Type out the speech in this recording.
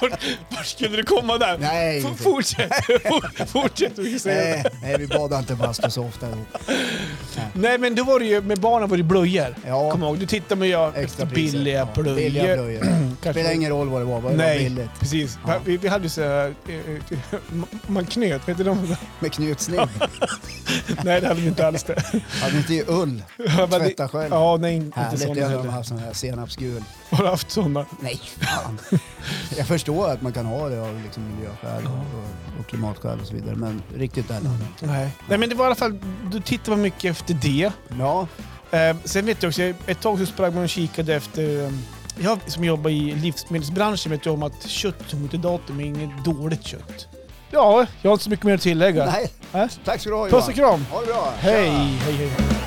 Vart, vart skulle du komma där? Nej, F- inte. fortsätt. For- fortsätt och säga Nej, nej, vi badar inte bastu så ofta ihop. Nej, men då var det ju med barnen var det blöjor. Ja. Kommer ihåg? Du tittade med jag efter Extra priser. billiga Ja, blöjor. Billiga blöjor. Kanske- Spelar ingen roll vad det var, bara det var Nej, billigt. precis. Ja. Vi, vi hade ju så här, eh, eh, man knöt, vet du de? Med knutsnibb. Nej, det hade vi inte alls det. Hade inte i ull. Jag bara, Tvätta själv. Ja, nej, inte Härligt, sådana jag hade heller. haft Mm. sån här senapsgul. Har du haft sådana? Nej, fan. Jag förstår att man kan ha det av liksom miljöskäl och, och, och klimatskäl och så vidare, men riktigt där Mm. landar jag inte. Nej. nej, men det var i alla fall, du tittade mycket efter det. Ja, Eh, sen vet jag också, ett tag så sprang man och kikade efter... eh, Jag som jobbar i livsmedelsbranschen vet jag om att kött som går till datum är inget dåligt kött. Ja, jag har inte så mycket mer att tillägga. nej. Nej. Tack ska du ha Johan. Puss och kram! Ha det bra. Hej, Tja. hej, hej.